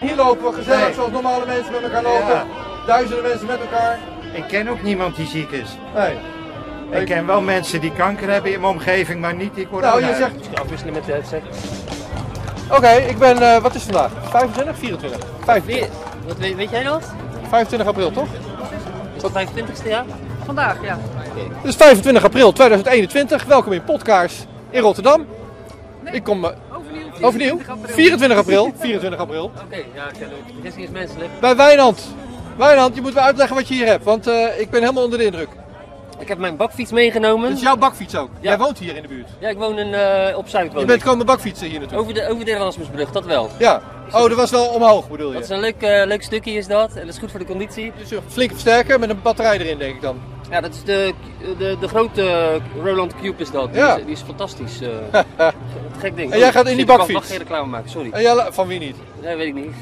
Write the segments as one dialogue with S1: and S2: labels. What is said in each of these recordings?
S1: Hier lopen we gezellig
S2: Nee.
S1: zoals normale mensen met elkaar lopen.
S2: Ja.
S1: Duizenden mensen met elkaar.
S2: Ik ken ook niemand die ziek is.
S1: Nee.
S2: Ik ken wel mensen die kanker hebben in mijn omgeving, maar niet die corona
S1: Nou, je
S2: hebben.
S1: zegt...
S3: Misschien afwisselen met de headset.
S1: Oké, ik ben... eh, wat is het vandaag? 25, 24? 25.
S3: Wat, weet, weet jij dat?
S1: 25 april, toch?
S3: Is dat 25ste jaar?
S4: Vandaag, ja.
S1: Het is 25 april 2021. Welkom in Podkaars in Rotterdam.
S4: Nee.
S1: Ik kom eh,
S4: Overnieuw.
S1: overnieuw. 24 april. 24 april.
S3: Oké, ja, ik ken het. Gisteren is menselijk.
S1: Bij Wijnand. Wijnand, je moet me uitleggen wat je hier hebt, want eh, ik ben helemaal onder de indruk.
S3: Ik heb mijn bakfiets meegenomen.
S1: Dit is jouw bakfiets ook.
S3: Ja.
S1: Jij woont hier in de buurt.
S3: Ja, ik woon in, eh, op Zuid. woon
S1: Je bent
S3: ik.
S1: komen bakfietsen hier naartoe.
S3: Over de, over de Erasmusbrug, dat wel.
S1: Ja. Oh, dat was wel omhoog bedoel
S3: Dat is
S1: je.
S3: een leuk, eh, leuk stukje is dat. En dat is goed voor de conditie.
S1: Dus een flinke versterker met een batterij erin, denk ik dan.
S3: Ja, dat is de, de, de grote Roland Cube is dat. Die,
S1: Ja.
S3: is, die is fantastisch. eh. Te gek ding.
S1: En jij gaat in die
S3: shit, ik mag-
S1: bakfiets?
S3: mag geen reclame maken, sorry.
S1: En jij, la- van wie niet?
S3: Nee, weet ik niet.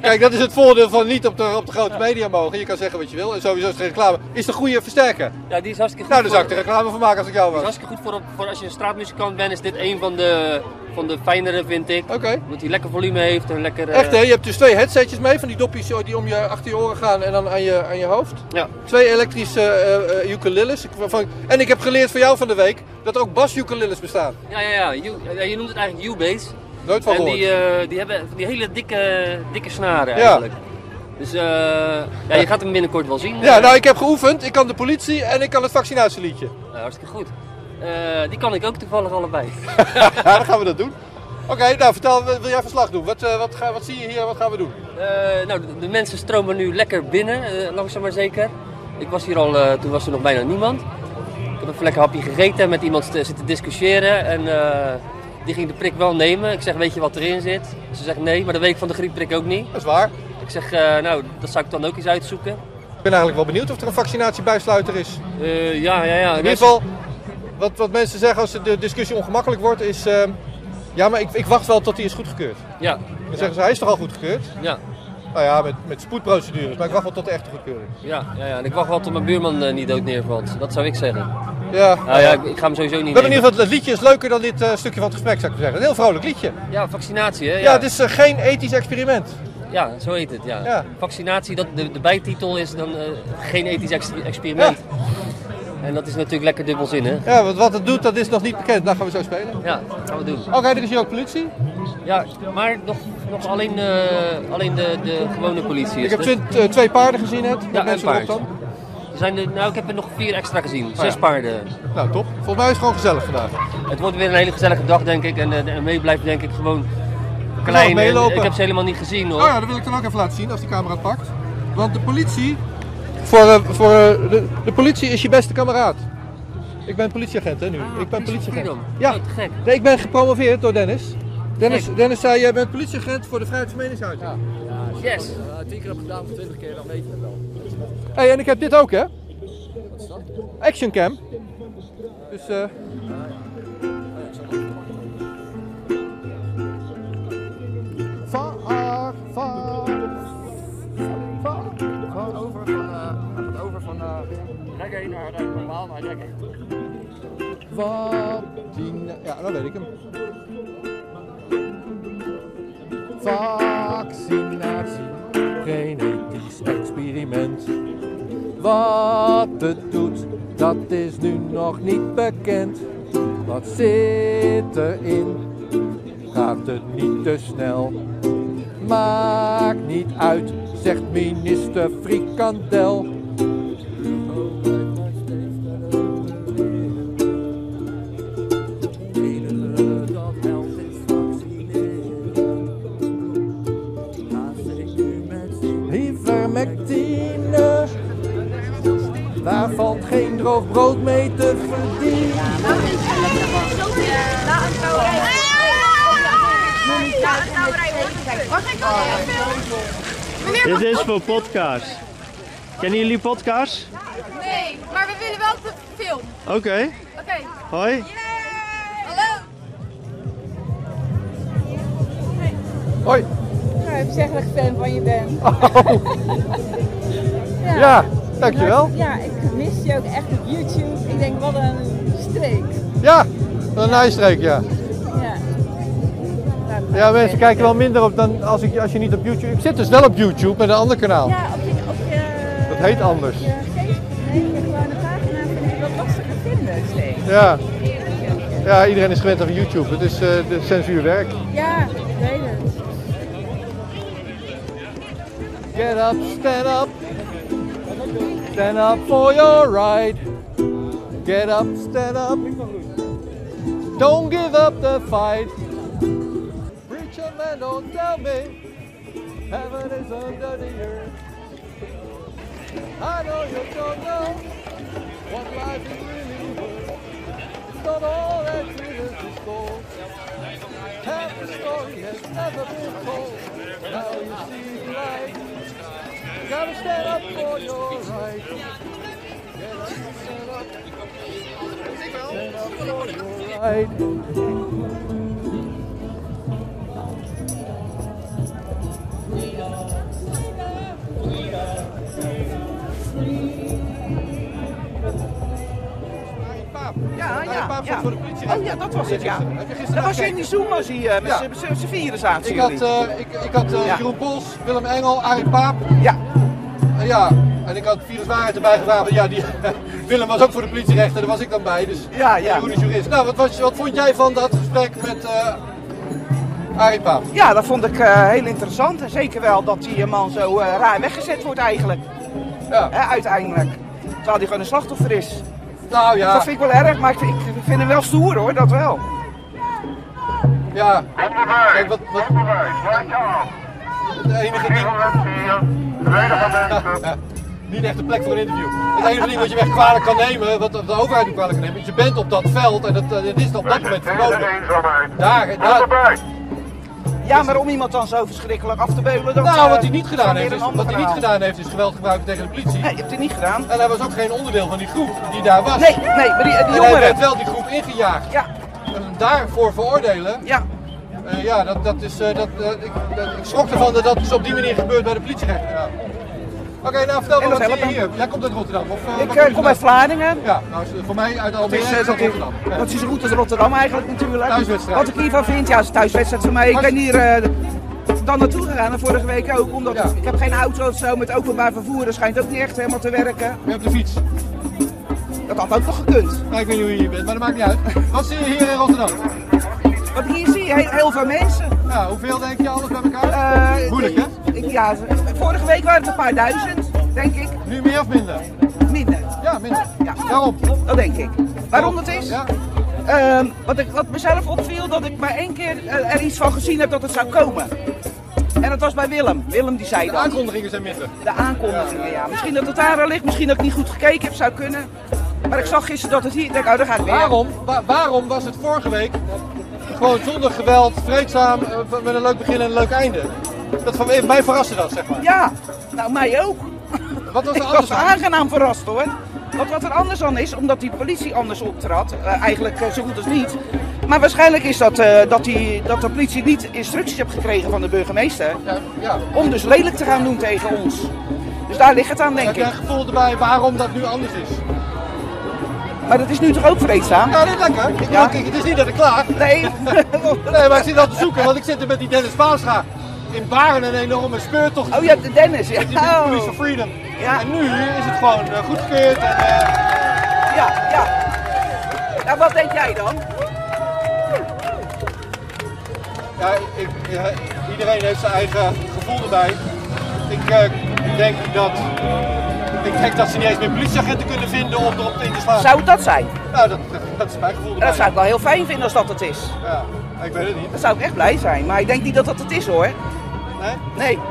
S1: Kijk, dat is het voordeel van niet op de, op de grote media mogen. Je kan zeggen wat je wil en sowieso is het geen reclame. Is de goede versterker?
S3: Ja, die is hartstikke
S1: Nou,
S3: goed.
S1: daar zou ik
S3: voor-
S1: de reclame van maken als ik jou
S3: die is
S1: was.
S3: hartstikke goed voor, op, voor als je een straatmuzikant bent, is dit een van de, van de fijnere, vind ik.
S1: Oké.
S3: Omdat hij lekker volume heeft en lekker... eh,
S1: Echt hè, je hebt dus twee headsetjes mee van die dopjes die om je achter je oren gaan en dan aan je, aan je hoofd.
S3: Ja.
S1: Twee elektrische eh, eh, ukuleles. Ik- waarvan- En ik heb geleerd van jou van de week dat er ook bas-ukuleles bestaan.
S3: Ja, ja, ja. U- ja, je noemt het eigenlijk U-Bass.
S1: Nooit van
S3: En
S1: gehoord.
S3: die, eh, die hebben van die hele dikke, dikke snaren
S1: Ja.
S3: eigenlijk. Dus eh, ja, je gaat hem binnenkort wel zien.
S1: Ja,
S3: Eh,
S1: nou ik heb geoefend. Ik kan de politie en ik kan het vaccinatieliedje.
S3: nou, hartstikke goed. Eh, die kan ik ook toevallig allebei.
S1: Ja, dan gaan we dat doen. Oké, nou vertel, wil wil jij verslag doen? Wat, eh, wat, ga, wat zie je hier en wat gaan we doen?
S3: Eh, nou, de, de mensen stromen nu lekker binnen, eh, langzaam maar zeker. Ik was hier al, eh, toen was er nog bijna niemand. Ik heb even lekker hapje gegeten en met iemand st- zitten discussiëren. En eh, die ging de prik wel nemen. Ik zeg, weet je wat erin zit? Ze zegt nee, maar dat weet ik van de griepprik ook niet.
S1: Dat is waar.
S3: Ik zeg, eh, nou, dat zou ik dan ook eens uitzoeken.
S1: Ik ben eigenlijk wel benieuwd of er een vaccinatiebijsluiter is.
S3: Eh, ja, ja, ja.
S1: In ieder geval, wat, wat mensen zeggen als de discussie ongemakkelijk wordt is... ehm, ja, maar ik, ik wacht wel tot hij is goedgekeurd.
S3: Ja,
S1: Dan zeggen ze, hij is toch al goedgekeurd?
S3: ja,
S1: Nou ja, met, met spoedprocedures, maar ik wacht wel tot de echte goedkeuring.
S3: ja, ja, ja. En ik wacht wel tot mijn buurman eh, niet dood neervalt. Dat zou ik zeggen.
S1: Ah, Ja.
S3: Nou ja, ik, ik ga hem sowieso niet
S1: ik ben
S3: nemen.
S1: in ieder geval, het liedje is leuker dan dit eh, stukje van het gesprek, zou ik maar zeggen. Een heel vrolijk liedje. Ja,
S3: Ja, vaccinatie, hè? Ja,
S1: het is eh, geen ethisch experiment.
S3: Ja, zo heet het, ja.
S1: Ja.
S3: Vaccinatie, dat, de, de bijtitel is dan eh, geen ethisch ex- experiment. En dat is natuurlijk lekker dubbelzinnig.
S1: Ja, want wat het doet, dat is nog niet bekend. Nou gaan we zo spelen. Oké,
S3: Ja, dat gaan we doen.
S1: er is hier ook politie.
S3: Ja, maar nog, nog alleen, eh, alleen de, de gewone politie.
S1: Ik
S3: is
S1: heb
S3: er.
S1: twint- eh, twee paarden gezien net. Met
S3: Ja, en
S1: mensen erop
S3: paard.
S1: dan. Oh,
S3: Er zijn er, nou, ik heb er nog vier extra gezien.
S1: ja.
S3: Zes paarden.
S1: Nou, top. Volgens mij is het gewoon gezellig vandaag.
S3: Het wordt weer een hele gezellige dag, denk ik. En, eh, en mee blijft, denk ik, gewoon klein. En eh,
S1: meelopen.
S3: ik heb ze helemaal niet gezien, hoor.
S1: Oh ja, dat wil ik dan ook even laten zien als die camera het pakt. Want de politie. Voor, eh, voor, eh, de, de politie is je beste kameraad. Ik ben politieagent hè, nu.
S3: Ah,
S1: ik ben
S3: Police of
S1: politieagent.
S3: Freedom.
S1: Ja,
S3: Oh, te gek.
S1: Nee, ik ben gepromoveerd door Dennis. Dennis,
S3: Gek.
S1: Dennis zei: Jij bent politieagent voor de vrijheid van meningsuiting.
S3: Yes.
S1: hey, en ik heb dit ook, hè? Wat is dat? Action cam. Dus, eh.
S5: Vaar, vaar. Vaar. Gewoon over van, eh over van eh rek 1 naar rek normaal naar rek 1.
S1: Wat die- Ja, dan weet ik hem.
S5: Vaccinatie, eh, geen ethisch experiment. Wat het doet, dat is nu nog niet bekend. Wat zit erin? Gaat het niet te snel? Maakt niet uit, zegt minister Frikandel. Enige dat helpt is vaccineren. Ivermectine, daar valt geen droog brood mee te verdienen.
S4: Na een trouwerij. Na een trouwerij wordt het leuk. Mag ik nog even?
S6: Dit is voor podcast. Kennen jullie podcast?
S4: Nee, maar we willen wel de film.
S6: Oké.
S4: Oké.
S6: Hoi.
S4: Hallo.
S1: Hoi.
S7: Nou, ik zeg dat ik fan van je ben. Ja.
S1: Oh. Ja, dankjewel.
S7: Ja, ik mis je ook echt op YouTube. Ik denk, wat een streek.
S1: Ja, wat een ijstreek, ja.
S7: Ja. Nou,
S1: Ik Ja, mensen kijken wel minder op dan als, ik, als je niet op YouTube... Ik zit dus wel op YouTube met een ander kanaal.
S7: Ja, op je, op je...
S1: Dat heet anders.
S7: Op je Facebook heb je gewoon een pagina vind ik wat lastiger vinden steeds.
S1: Ja. Ja, iedereen is gewend aan YouTube. Het is eh de censuur werkt.
S7: Ja, ik weet het.
S1: Get up, stand up. Stand up for your right. Get up, stand up. Don't give up the fight. Preacher man, don't tell me. Heaven is under the earth. I know you don't know what life is really worth. It's not all that glitters is gold. Half the story has never been told. Now you see the light. Gotta stand up for your right. Get up, stand up. Stand up for your right.
S8: Ja,
S1: Bij de
S8: ja,
S1: paap
S8: ja.
S1: voor de politie.
S8: Oh ja, dat was het, ja.
S1: Heb je gisteren
S8: Dat was je
S1: gekeken?
S8: in die Zuma, zie je,
S1: Ja.
S8: met zijn virus aan
S1: Ik had, eh, ik, ik had eh,
S8: Ja.
S1: Jeroen Pols, Willem Engel, Arie Paap.
S8: Ja,
S1: eh, ja, en ik had viruswaarheid erbij gevraagd. Ja, die, Willem was ook voor de politierechter, daar was ik dan bij. Dus
S8: Ja, ja.
S1: Jeroen is jurist. Nou, wat, was, wat vond jij van dat gesprek met eh Arie Paap?
S8: ja, dat vond ik eh, heel interessant. En zeker wel dat die man zo eh, raar weggezet wordt eigenlijk,
S1: Ja.
S8: hè, uiteindelijk. Terwijl hij gewoon een slachtoffer is.
S1: Nou ja.
S8: Dat vind ik wel erg, maar ik, ik vind hem wel stoer hoor, dat wel.
S1: Ja. Kijk, wat, wat, de enige ding... Niet echt de plek voor een interview. Het enige ding wat je echt kwalijk kan nemen, wat de overheid ook kwalijk kan nemen, is je bent op dat veld en dat, eh, dat is op dat moment verboden. Daar, daar,
S8: Ja, maar om iemand dan zo verschrikkelijk af te beulen, dat
S1: nou,
S8: eh,
S1: wat hij niet gedaan
S8: weer
S1: heeft,
S8: een
S1: is,
S8: ander
S1: wat hij niet
S8: verhaal.
S1: gedaan heeft, is geweld gebruiken tegen de politie.
S8: Nee, je hebt het niet gedaan.
S1: En hij was ook geen onderdeel van die groep die daar was.
S8: Nee, nee, maar die, die
S1: En hij
S8: jongeren.
S1: werd wel die groep ingejaagd.
S8: Ja,
S1: En hem daarvoor veroordelen,
S8: ja.
S1: eh, ja, dat, dat is, eh, dat, eh, ik, dat- ik schrok ervan dat dat dus op die manier gebeurt bij de politierechter. Ja. Oké, nou vertel me
S8: En
S1: wat
S8: dat
S1: zie je
S8: helpt
S1: hier. Jij komt uit Rotterdam, of? eh, waar
S8: Ik
S1: kom
S8: eh,
S1: je
S8: kom
S1: vandaan?
S8: uit Vlaardingen.
S1: Ja, nou, is, eh, voor mij uit
S8: Het
S1: Almere
S8: is,
S1: is
S8: eh,
S1: dat
S8: dat, is,
S1: Rotterdam. Ja.
S8: dat is zo goed als Rotterdam eigenlijk natuurlijk.
S1: Thuiswedstrijd.
S8: Wat ik hiervan vind, ja, het is een thuiswedstrijd voor mij. Ik ben hier eh, dan naartoe gegaan en vorige week ook, omdat
S1: Ja.
S8: ik heb geen auto of zo met openbaar vervoer. Dat schijnt ook niet echt helemaal te werken.
S1: Je hebt de fiets.
S8: Dat had ook nog gekund.
S1: Nou, ik weet niet hoe je hier bent, maar dat maakt niet uit. Wat zie je hier in Rotterdam?
S8: Want hier zie je heel, heel veel mensen.
S1: Ja, hoeveel denk je alles bij elkaar?
S8: Eh,
S1: Moeilijk, hè?
S8: ik- ja, vorige week waren het een paar duizend, denk ik.
S1: Nu meer of minder?
S8: Minder.
S1: Ja, minder.
S8: Ja.
S1: Waarom?
S8: Dat denk ik. Waarom dat is?
S1: Ja.
S8: Ehm, wat, ik, wat mezelf opviel, dat ik maar één keer eh, er iets van gezien heb dat het zou komen. En dat was bij Willem. Willem die zei
S1: De
S8: dat.
S1: aankondigingen zijn minder.
S8: De aankondigingen, ja. Misschien dat het daar al ligt, misschien dat ik niet goed gekeken heb, zou kunnen. Maar ik zag gisteren dat het hier... Ik denk, oh, daar ga ik weer.
S1: Waarom, wa- waarom was het vorige week gewoon zonder geweld, vreedzaam, eh, met een leuk begin en een leuk einde? Dat van, mij verraste dat, zeg maar.
S8: Ja, nou mij ook.
S1: Wat was er
S8: Ik
S1: anders
S8: was
S1: aan?
S8: aangenaam verrast hoor. Want wat er anders aan is, omdat die politie anders optrad, eh, eigenlijk eh, zo goed als niet. Maar waarschijnlijk is dat, eh, dat, die, dat de politie niet instructies heeft gekregen van de burgemeester.
S1: Ja, ja.
S8: Om dus lelijk te gaan doen tegen ons. Dus daar ligt het aan, denk
S1: Heb jij
S8: ik.
S1: een gevoel erbij waarom dat nu anders is?
S8: Maar dat is nu toch ook vreedzaam?
S1: Ja, dit is lekker. Ik
S8: Ja.
S1: wil- kijk, het is niet dat ik klaag.
S8: Nee.
S1: Nee, maar ik zit al te zoeken, want ik zit er met die Dennis Paasga in Baren een enorme speurtocht.
S8: Oh ja, de Dennis. Ja, Oh.
S1: Die doet de Police for Freedom.
S8: Ja.
S1: En nu is het gewoon goed goedgekeurd. En, eh,
S8: ja, ja. Nou, wat denk jij dan?
S1: ja, ik, ja, iedereen heeft zijn eigen gevoel erbij. Ik eh, denk dat... Ik denk dat ze niet eens meer politieagenten kunnen vinden om erop in te slaan.
S8: Zou het dat zijn?
S1: Nou, dat, dat, dat is mijn gevoel erbij.
S8: Dat zou ik wel heel fijn vinden als dat het is.
S1: Ja, ik weet het niet.
S8: Dan zou ik echt blij zijn. Maar ik denk niet dat dat het is hoor.
S1: Nee?
S8: Nee. Ik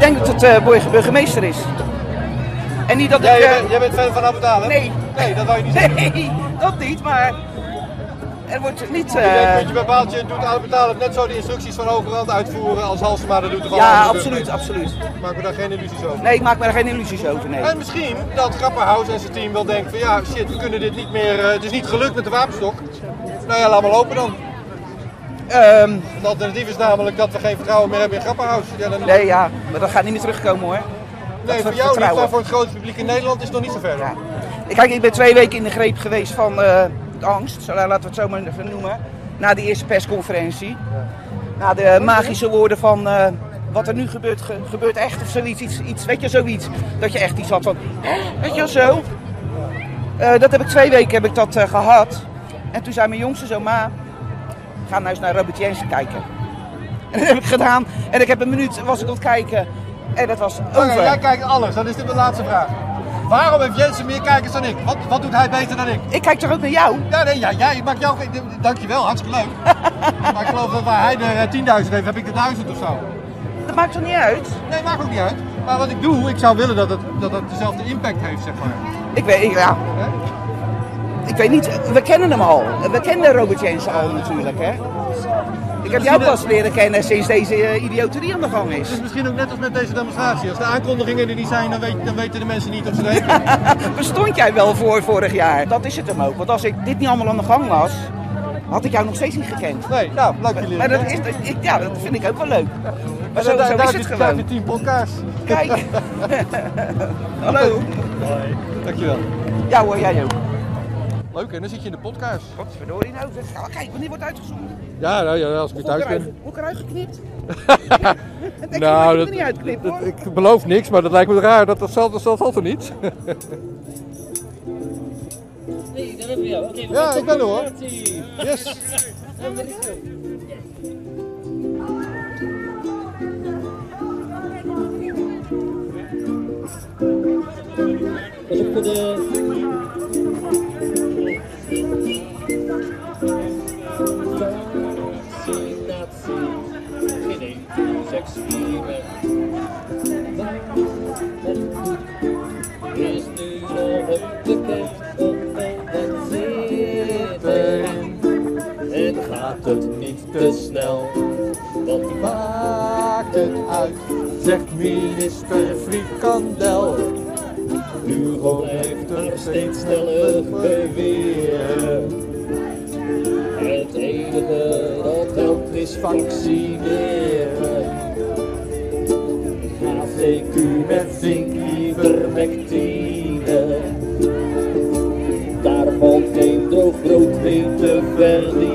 S8: denk dat het eh boy- burgemeester is. En niet dat
S1: Jij,
S8: ik...
S1: jij
S8: eh,
S1: bent, jij bent fan van Abu Dhabi?
S8: Nee.
S1: Nee, dat wou je niet zeggen.
S8: nee, dat niet, maar... Er wordt niet...
S1: Ik denk,
S8: eh,
S1: puntje bij paaltje, doet Abu Dhabi net zo de instructies van Hogerland uitvoeren als Halsema dat doet. er wel aan
S8: Ja,
S1: de
S8: absoluut,
S1: burgemeester.
S8: absoluut.
S1: Maak me daar geen illusies over.
S8: Nee, ik maak me daar geen illusies over, nee.
S1: En misschien dat Grapperhaus en zijn team wel denken van ja, shit, we kunnen dit niet meer, eh, het is niet gelukt met de wapenstok. Nou ja, laat maar lopen dan.
S8: Ehm,
S1: Het alternatief is namelijk dat we geen vertrouwen meer hebben in Grapperhaus. Ja, dan-
S8: nee, ja, maar dat gaat niet meer terugkomen hoor.
S1: nee, voor
S8: ver-
S1: jou niet,
S8: vertrouwen.
S1: maar voor het grote publiek in Nederland is het nog niet zo ver.
S8: Ja. Kijk, ik ben twee weken in de greep geweest van eh, de angst, zo, laten we het zo maar even noemen. Na die eerste persconferentie. Na de magische woorden van eh, wat er nu gebeurt, ge- gebeurt echt of zoiets. Iets, iets, weet je, zoiets. Dat je echt iets had van, "Hè? weet je wel, zo. Eh, dat heb ik twee weken heb ik dat, eh, gehad. En toen zei mijn jongste zo, ma, ga nou eens naar Robert Jensen kijken. En dat heb ik gedaan. En ik heb een minuut, was ik aan het kijken. En dat was
S5: Oké, jij
S8: over.
S5: kijkt alles. Dan is dit mijn laatste vraag. Waarom heeft Jensen meer kijkers dan ik? Wat, wat doet hij beter dan ik?
S8: Ik kijk toch ook naar jou?
S5: Ja, nee, ja, jij, ik maak jou... geen- Dankjewel, hartstikke leuk. maar ik geloof dat waar hij de eh, 10.000 heeft, heb ik de 1000 of zo.
S8: Dat maakt toch niet uit?
S5: Nee, maakt ook niet uit. Maar wat ik doe, ik zou willen dat het, dat het dezelfde impact heeft, zeg maar.
S8: Ik weet, ik- ja. Ik weet niet, we kennen hem al. We kenden Robert Jensen al natuurlijk, hè? Ik heb jou pas leren kennen sinds deze eh, idioterie aan de gang is.
S5: Het is misschien ook net als met deze demonstratie. Als de aankondigingen er niet zijn, dan, weet, dan weten de mensen niet of ze er heen kunnen.
S8: Bestond jij wel voor vorig jaar? Dat is het hem ook. Want als ik dit niet allemaal aan de gang was, had ik jou nog steeds niet gekend.
S5: Nee, nou, leuk jullie.
S8: Maar dat, is, dat- ik- ja, dat vind ik ook wel leuk. Maar
S5: Daar-
S8: zo,
S5: daar-
S8: zo
S5: daar
S8: is
S5: heb
S8: het
S5: je- Daar heb je
S8: gewoon.
S5: tien podcasts.
S8: Kijk. Hallo.
S5: Dankjewel.
S8: Ja hoor, jij ook.
S5: Leuk, en dan zit je in de podcast.
S8: Wat verdorie nou? zeg. Ja, Kijk, wanneer wordt uitgezonden?
S5: Ja, nou, ja als ik
S8: Word
S5: weer thuis
S8: ik eruit-
S5: ben.
S8: word ik eruit geknipt? Ik
S5: Nou,
S8: nou, dat
S5: dat-
S8: niet uitknippen hoor.
S5: Ik beloof niks, maar dat lijkt me raar. Dat zelf dat zelf altijd niet. Ja, ik ben er hoor. Yes.
S1: Gaat het niet te snel? Want maakt het uit, zegt minister Frikandel. Hugo heeft een steeds sneller beweer. Het enige dat helpt is vaccineren. HCQ met zink ivermectine. Daar valt geen droog brood mee te verdienen.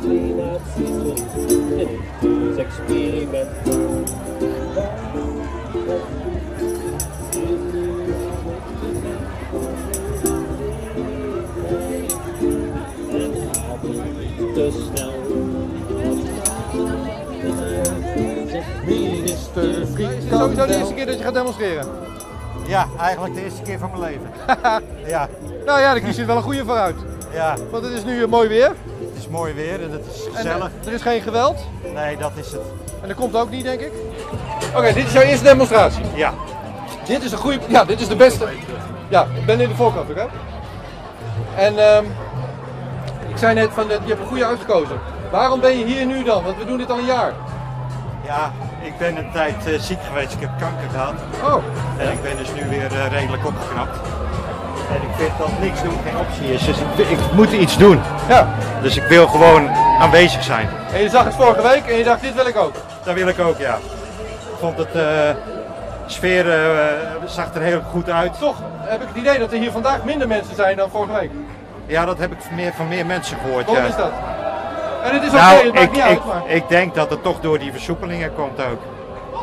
S1: Vaccinaties, dit is experiment. En gaat niet te snel. Minister
S5: Sowieso de
S1: Frikandel.
S5: eerste keer dat je gaat demonstreren.
S2: Ja, eigenlijk de eerste keer van mijn leven. ja,
S5: Nou ja, daar kies je wel een goede voor uit.
S2: ja,
S5: Want het is nu eh, mooi weer.
S2: het is mooi weer en het is
S5: En
S2: gezellig.
S5: eh, er is geen geweld.
S2: Nee, dat is het.
S5: En dat komt ook niet, denk ik. Oké, dit is jouw eerste demonstratie.
S2: Ja,
S5: Dit is een goede. Ja, dit is de beste. Ja, ik ben in de voorkant ook, hè? En ehm, ik zei net van, eh, je hebt een goede uitgekozen. Waarom ben je hier nu dan? Want we doen dit al een jaar.
S2: ja, ik ben een tijd eh, ziek geweest. Ik heb kanker gehad.
S5: Oh,
S2: En ik ben dus nu weer eh, redelijk opgeknapt. En ik vind dat niks doen geen optie is. Dus ik, ik moet iets doen.
S5: ja.
S2: Dus ik wil gewoon aanwezig zijn.
S5: En je zag het vorige week en je dacht, dit wil ik ook.
S2: Dat wil ik ook, ja. Ik vond het eh, sfeer eh, zag er heel goed uit.
S5: Toch heb ik het idee dat er hier vandaag minder mensen zijn dan vorige week.
S2: Ja, dat heb ik van meer, van meer mensen gehoord.
S5: Waarom
S2: ja.
S5: is dat? En het is oké,
S2: Nou,
S5: het maakt
S2: ik,
S5: niet
S2: ik,
S5: uit, maar...
S2: ik denk dat het toch door die versoepelingen komt ook.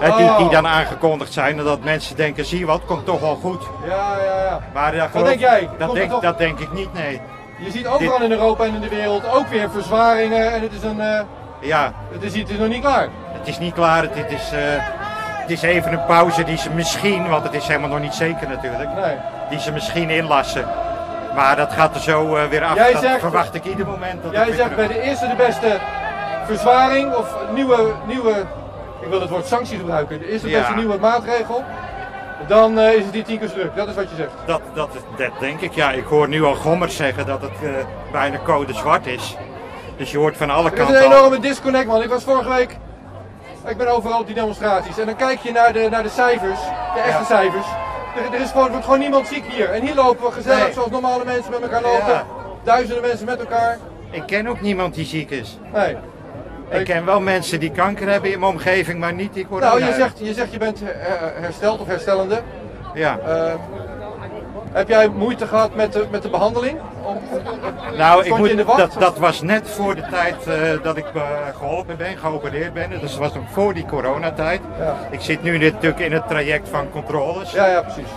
S2: Hè,
S5: Oh.
S2: die, die dan aangekondigd zijn en dat mensen denken, zie je wat, komt toch wel goed.
S5: Ja, ja, ja.
S2: Maar ja,
S5: denk jij? Komt
S2: Dat
S5: het
S2: denk,
S5: toch-
S2: dat denk ik niet, nee.
S5: Je ziet overal in Europa en in de wereld ook weer verzwaringen en het is, een, eh,
S2: Ja,
S5: het is, het is nog niet klaar.
S2: het is niet klaar. Het, het is, eh, het is even een pauze die ze misschien, want het is helemaal nog niet zeker natuurlijk,
S5: Nee.
S2: die ze misschien inlassen. Maar dat gaat er zo eh, weer af.
S5: Jij
S2: dat
S5: zegt-
S2: verwacht ik ieder moment. Dat het
S5: Jij
S2: weer
S5: zegt bij
S2: terug-
S5: de eerste de beste verzwaring of nieuwe, nieuwe ik wil het woord sanctie gebruiken, de eerste de
S2: Ja.
S5: beste nieuwe maatregel, dan eh, is het die tien keer zo druk. Dat is wat je zegt.
S2: Dat, dat, dat denk ik, ja. Ik hoor nu al Gommers zeggen dat het eh, bijna code zwart is. Dus je hoort van alle
S5: Er is
S2: kanten
S5: een
S2: al-
S5: enorme disconnect man. Ik was vorige week, ik ben overal op die demonstraties en dan kijk je naar de, naar de cijfers, de echte
S2: Ja.
S5: cijfers. Er, er is gewoon, er wordt gewoon niemand ziek hier. En hier lopen we gezellig
S2: Nee.
S5: zoals normale mensen met elkaar lopen.
S2: Ja.
S5: Duizenden mensen met elkaar.
S2: Ik ken ook niemand die ziek is.
S5: Nee.
S2: Ik ken wel mensen die kanker hebben in mijn omgeving, maar niet die corona
S5: Nou, je
S2: hebben.
S5: zegt, je zegt je bent eh, hersteld of herstellende.
S2: Ja,
S5: Eh, Heb jij moeite gehad met de, met de behandeling? Om-
S2: Nou, ik
S5: Stond je in
S2: moet,
S5: de wacht?
S2: dat, dat was net voor de tijd eh, dat ik eh, geholpen ben, geopereerd ben. Dus dat was nog voor die coronatijd.
S5: Ja.
S2: Ik zit nu natuurlijk in het traject van controles.
S5: Ja, ja, precies.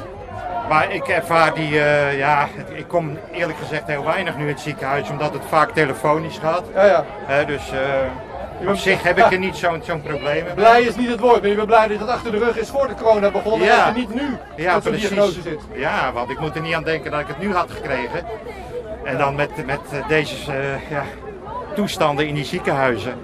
S2: Maar ik ervaar die, eh, ja, het- ik kom eerlijk gezegd heel weinig nu in het ziekenhuis, omdat het vaak telefonisch gaat.
S5: Ja, ja.
S2: Hè, dus eh, op zich heb ik er niet zo'n zo'n probleem mee.
S5: Blij is niet het woord, maar je bent blij dat het achter de rug is voor de corona begonnen
S2: Ja.
S5: en dat je niet nu
S2: Ja,
S5: met zo'n
S2: precies.
S5: diagnose zit.
S2: Ja, want ik moet er niet aan denken dat ik het nu had gekregen. En dan met, met eh, deze eh, ja, toestanden in die ziekenhuizen.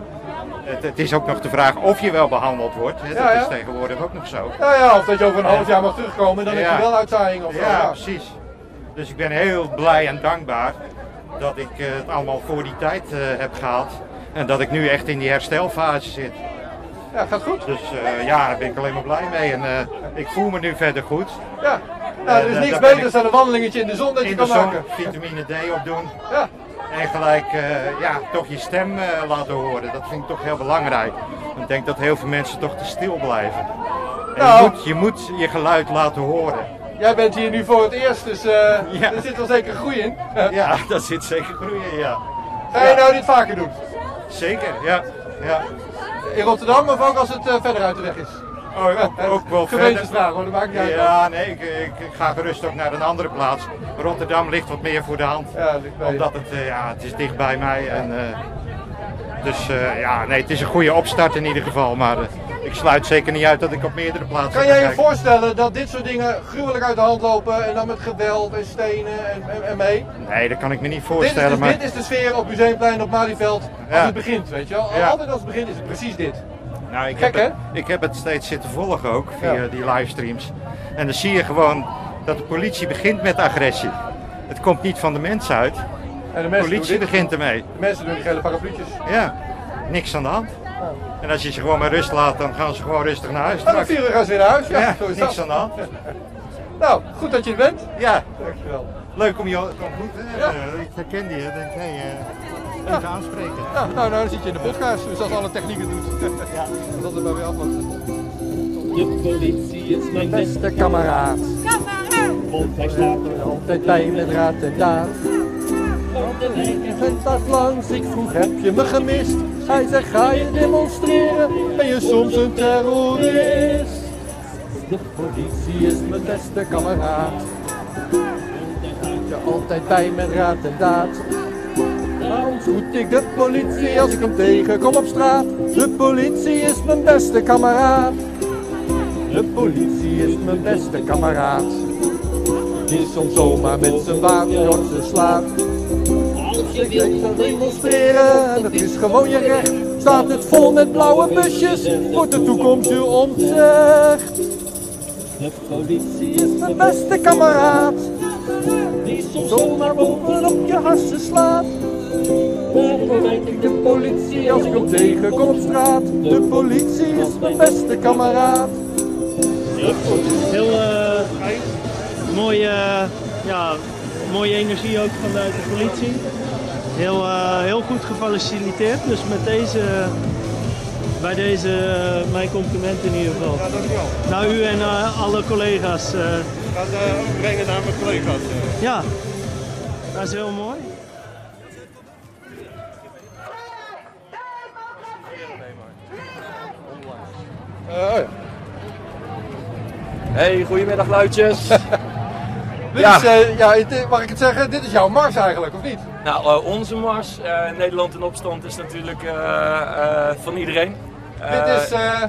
S2: Het, het is ook nog de vraag of je wel behandeld wordt. hè.
S5: Ja,
S2: Dat
S5: ja.
S2: is tegenwoordig ook nog zo.
S5: Nou ja, of dat je over een half jaar mag terugkomen en dan heb
S2: Ja.
S5: je wel uitzaaiing of zo.
S2: Ja,
S5: Ja.
S2: precies. Dus ik ben heel blij en dankbaar dat ik eh, het allemaal voor die tijd eh, heb gehaald. En dat ik nu echt in die herstelfase zit.
S5: Ja, gaat goed.
S2: Dus eh, ja, daar ben ik alleen maar blij mee. En eh, ik voel me nu verder goed.
S5: Ja. Nou, er is
S2: Eh,
S5: niks
S2: daar ben ik-
S5: beters dan een wandelingetje in de zon dat je
S2: In de
S5: kan
S2: zon
S5: maken.
S2: vitamine D opdoen.
S5: Ja.
S2: En gelijk eh, ja, toch je stem eh, laten horen. Dat vind ik toch heel belangrijk. Ik denk dat heel veel mensen toch te stil blijven. En
S5: Nou.
S2: je, moet, je moet je geluid laten horen.
S5: Jij bent hier nu voor het eerst, dus eh
S2: Ja.
S5: er zit wel zeker groei in.
S2: Ja, dat zit zeker groeien, ja.
S5: Ga je nou dit vaker doen?
S2: Zeker, ja. ja.
S5: In Rotterdam of ook als het eh, verder uit de weg is?
S2: Oh, ook, ook wel verder.
S5: Gemeentesvraag hoor, dat maakt niet uit.
S2: Ja, nee, ik, ik, ik ga gerust ook naar een andere plaats. Rotterdam ligt wat meer voor de hand.
S5: Ja, ligt bij je.
S2: omdat het, eh, ja, het is dicht bij mij. En, eh, dus eh, ja, nee, het is een goede opstart in ieder geval. Maar eh, ik sluit zeker niet uit dat ik op meerdere plaatsen
S5: Kan
S2: ga
S5: jij je
S2: kijken.
S5: voorstellen dat dit soort dingen gruwelijk uit de hand lopen en dan met geweld en stenen en, en, en mee?
S2: Nee, dat kan ik me niet
S5: Dit is,
S2: voorstellen.
S5: dus,
S2: maar...
S5: dit is de sfeer op Museumplein, op Malieveld, als
S2: Ja.
S5: het begint, weet je wel.
S2: Ja.
S5: Altijd als het begint is het precies dit.
S2: Nou, ik,
S5: Gek,
S2: heb het, ik heb het steeds zitten volgen ook via
S5: Ja.
S2: die livestreams. En dan zie je gewoon dat de politie begint met agressie. Het komt niet van de mens uit.
S5: En de
S2: De
S5: mensen
S2: politie
S5: doen dit.
S2: begint ermee.
S5: De mensen doen die gele parapluutjes.
S2: Ja, niks aan de hand. En als je ze gewoon met rust laat, dan gaan ze gewoon rustig naar huis.
S5: Nou, dan vier uur gaan ze weer naar huis. Ja,
S2: Ja,
S5: zo is
S2: niks
S5: dat.
S2: aan de hand.
S5: Nou, goed dat je er bent.
S2: Ja,
S5: Dankjewel.
S2: leuk om je te ontmoeten.
S5: Ja.
S2: Eh, Ik herkende je, denk hey, eh, even aanspreken.
S5: Ja, nou, nou dan zit je in de podcast, dus als alle technieken doet. Ja. Dat is maar weer afwachten.
S9: De politie is mijn beste
S1: Beste kameraad,
S4: Kom maar uit.
S9: want hij slaapt
S1: altijd bij met raad en daad.
S9: op de wijk.
S1: Een dag langs, ik vroeg heb je me gemist? Hij zegt ga je demonstreren, ben je soms een terrorist? De politie is mijn beste kameraad. Heb je altijd bij met raad en daad. Nou groet ik de politie als ik hem tegenkom op straat. De politie is mijn beste kameraad. De politie is mijn beste kameraad. Die soms zomaar met zijn wapen op ze slaat.
S9: Als je
S1: Ik denk
S9: wilt
S1: dat demonstreren, en dat is gewoon je recht. Staat het vol met blauwe busjes, wordt de toekomst je ontzegd.
S9: De politie
S1: Is mijn beste kameraad,
S9: die soms
S1: zomaar bovenop je hassen slaat.
S9: overwijkt ik
S1: De politie als ik hem tegenkom op straat. De politie is mijn beste kameraad.
S6: Heel eh, mooie, eh, ja, mooie energie ook vanuit de politie. Heel, eh, heel goed gefaciliteerd. Dus met deze, bij deze eh, mijn complimenten in ieder geval.
S5: dankjewel.
S6: Naar u en eh, alle collega's. eh.
S5: Ik ga het brengen naar mijn collega's. eh.
S6: ja, dat is heel mooi.
S10: Hey, goedemiddag luidjes.
S5: ja.
S10: Ja.
S5: ja, het- mag ik het zeggen? Dit is jouw mars eigenlijk, of niet?
S10: nou, eh, onze mars, eh, Nederland in opstand, is natuurlijk eh, eh, van iedereen.
S5: dit
S10: Eh,
S5: is, eh,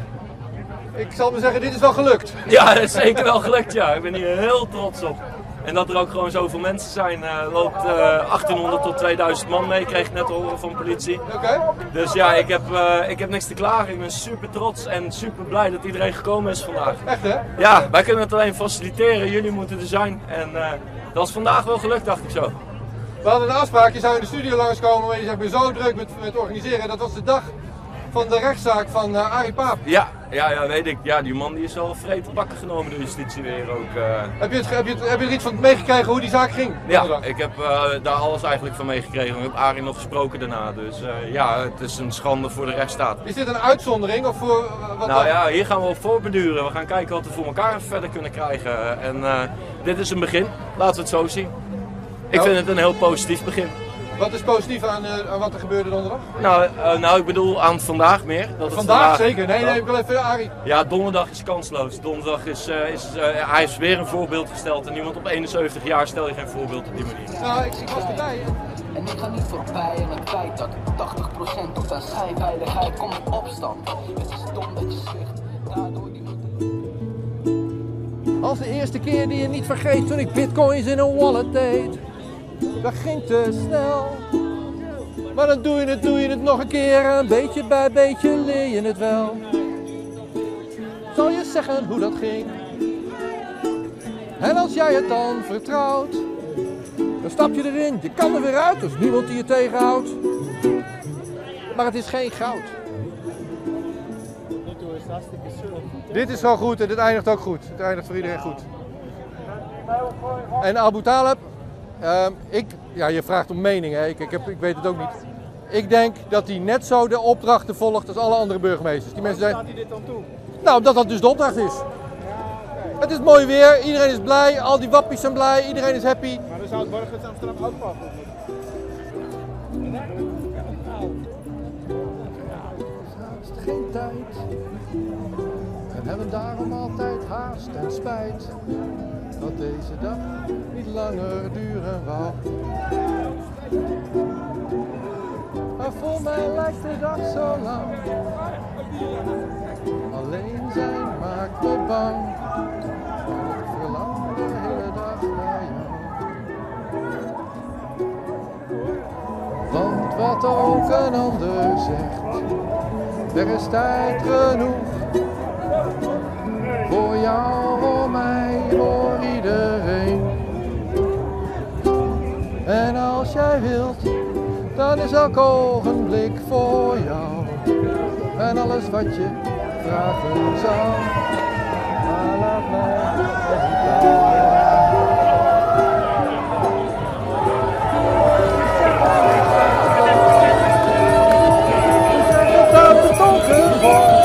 S5: ik zal maar zeggen, dit is wel gelukt.
S10: Ja, dat is zeker wel gelukt, ja. Ik ben hier heel trots op. En dat er ook gewoon zoveel mensen zijn. eh, loopt eh, 1800 tot 2000 man mee, kreeg ik net te horen van politie.
S5: Oké.
S10: Dus ja, ik heb, eh, ik heb niks te klagen. Ik ben super trots en super blij dat iedereen gekomen is vandaag.
S5: Echt hè?
S10: Ja, wij kunnen het alleen faciliteren. Jullie moeten er zijn. En eh, dat is vandaag wel gelukt, dacht ik zo.
S5: We hadden een afspraak, je zou in de studio langskomen, maar je zegt, ik ben zo druk met, met organiseren. Dat was de dag van de rechtszaak van eh Arie Paap.
S10: Ja, ja, ja, weet ik. Ja, die man die is al vreed te bakken genomen door justitie weer ook. eh.
S5: Heb je, het, ge- heb, je het- heb je er iets van meegekregen hoe die zaak ging?
S10: Ja, ik heb eh, daar alles eigenlijk van meegekregen. Ik heb Arie nog gesproken daarna. Dus eh, ja, het is een schande voor de rechtsstaat.
S5: Is dit een uitzondering of voor eh, wat
S10: nou
S5: dan?
S10: ja, hier gaan we op voorbeduren. We gaan kijken wat we voor elkaar verder kunnen krijgen. En eh, dit is een begin. Laten we het zo zien. Ik
S5: Nou.
S10: vind het een heel positief begin.
S5: Wat is positief aan, eh, aan wat er gebeurde donderdag?
S10: Nou, eh, nou ik bedoel aan vandaag meer. Dat het
S5: Vandaag, zeker. Nee, nee, ik wil even Arie.
S10: Ja, donderdag is kansloos. Donderdag is, eh, is eh, hij is weer een voorbeeld gesteld. En iemand op 71 jaar stel je geen voorbeeld op die manier.
S5: Nou, ik, ik was erbij.
S11: En ik ga niet voorbij aan het feit dat 80% doet aan schijnveiligheid. Kom in opstand. Het is dom dat je zegt. Daardoor die
S1: Als de eerste keer die je niet vergeet toen ik bitcoins in een wallet deed. Dat ging te snel. Maar dan doe je het, doe je het nog een keer en beetje bij beetje leer je het wel. Zal je zeggen hoe dat ging? En als jij het dan vertrouwt, dan stap je erin. Je kan er weer uit, er is niemand die je tegenhoudt. Maar het is geen goud.
S5: Dit is wel goed en dit eindigt ook goed. Het eindigt voor iedereen goed. En Abu Talib, ehm, ik, ja, je vraagt om mening, hè. Ik, ik, heb, ik weet het ook niet. Ik denk dat hij net zo de opdrachten volgt als alle andere burgemeesters. Die mensen zijn...
S1: hij dit dan toe?
S5: Nou, omdat dat dus de opdracht is. Het is mooi weer, iedereen is blij, al die wappies zijn blij, iedereen is happy.
S1: Maar dan zou het Borgens Amsterdam ook pakken. Geen tijd en hebben daarom altijd haast en spijt dat deze dag niet langer duren wou. Maar voor mij lijkt de dag zo lang. Alleen zijn maakt me bang. En ik verlang de hele dag naar jou. Want wat ook een ander zegt, er is tijd genoeg. Voor jou, voor mij, voor iedereen. En als jij wilt, dan is elk ogenblik voor jou. En alles wat je vragen zou. Maar laat mij niet laten. Ik zeg dat het donker wordt.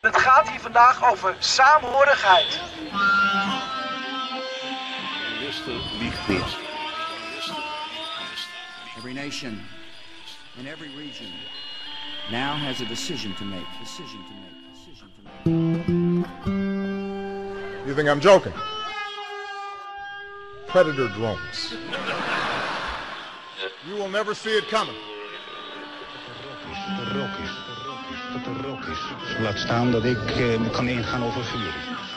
S12: Het gaat hier vandaag over saamhorigheid.
S13: Every nation in every region now has a decision to make. Decision to make. Decision to make.
S14: You think I'm joking? Predator drones. You will never see it coming.
S15: Laat staan dat ik eh, me kan ingaan over vuur.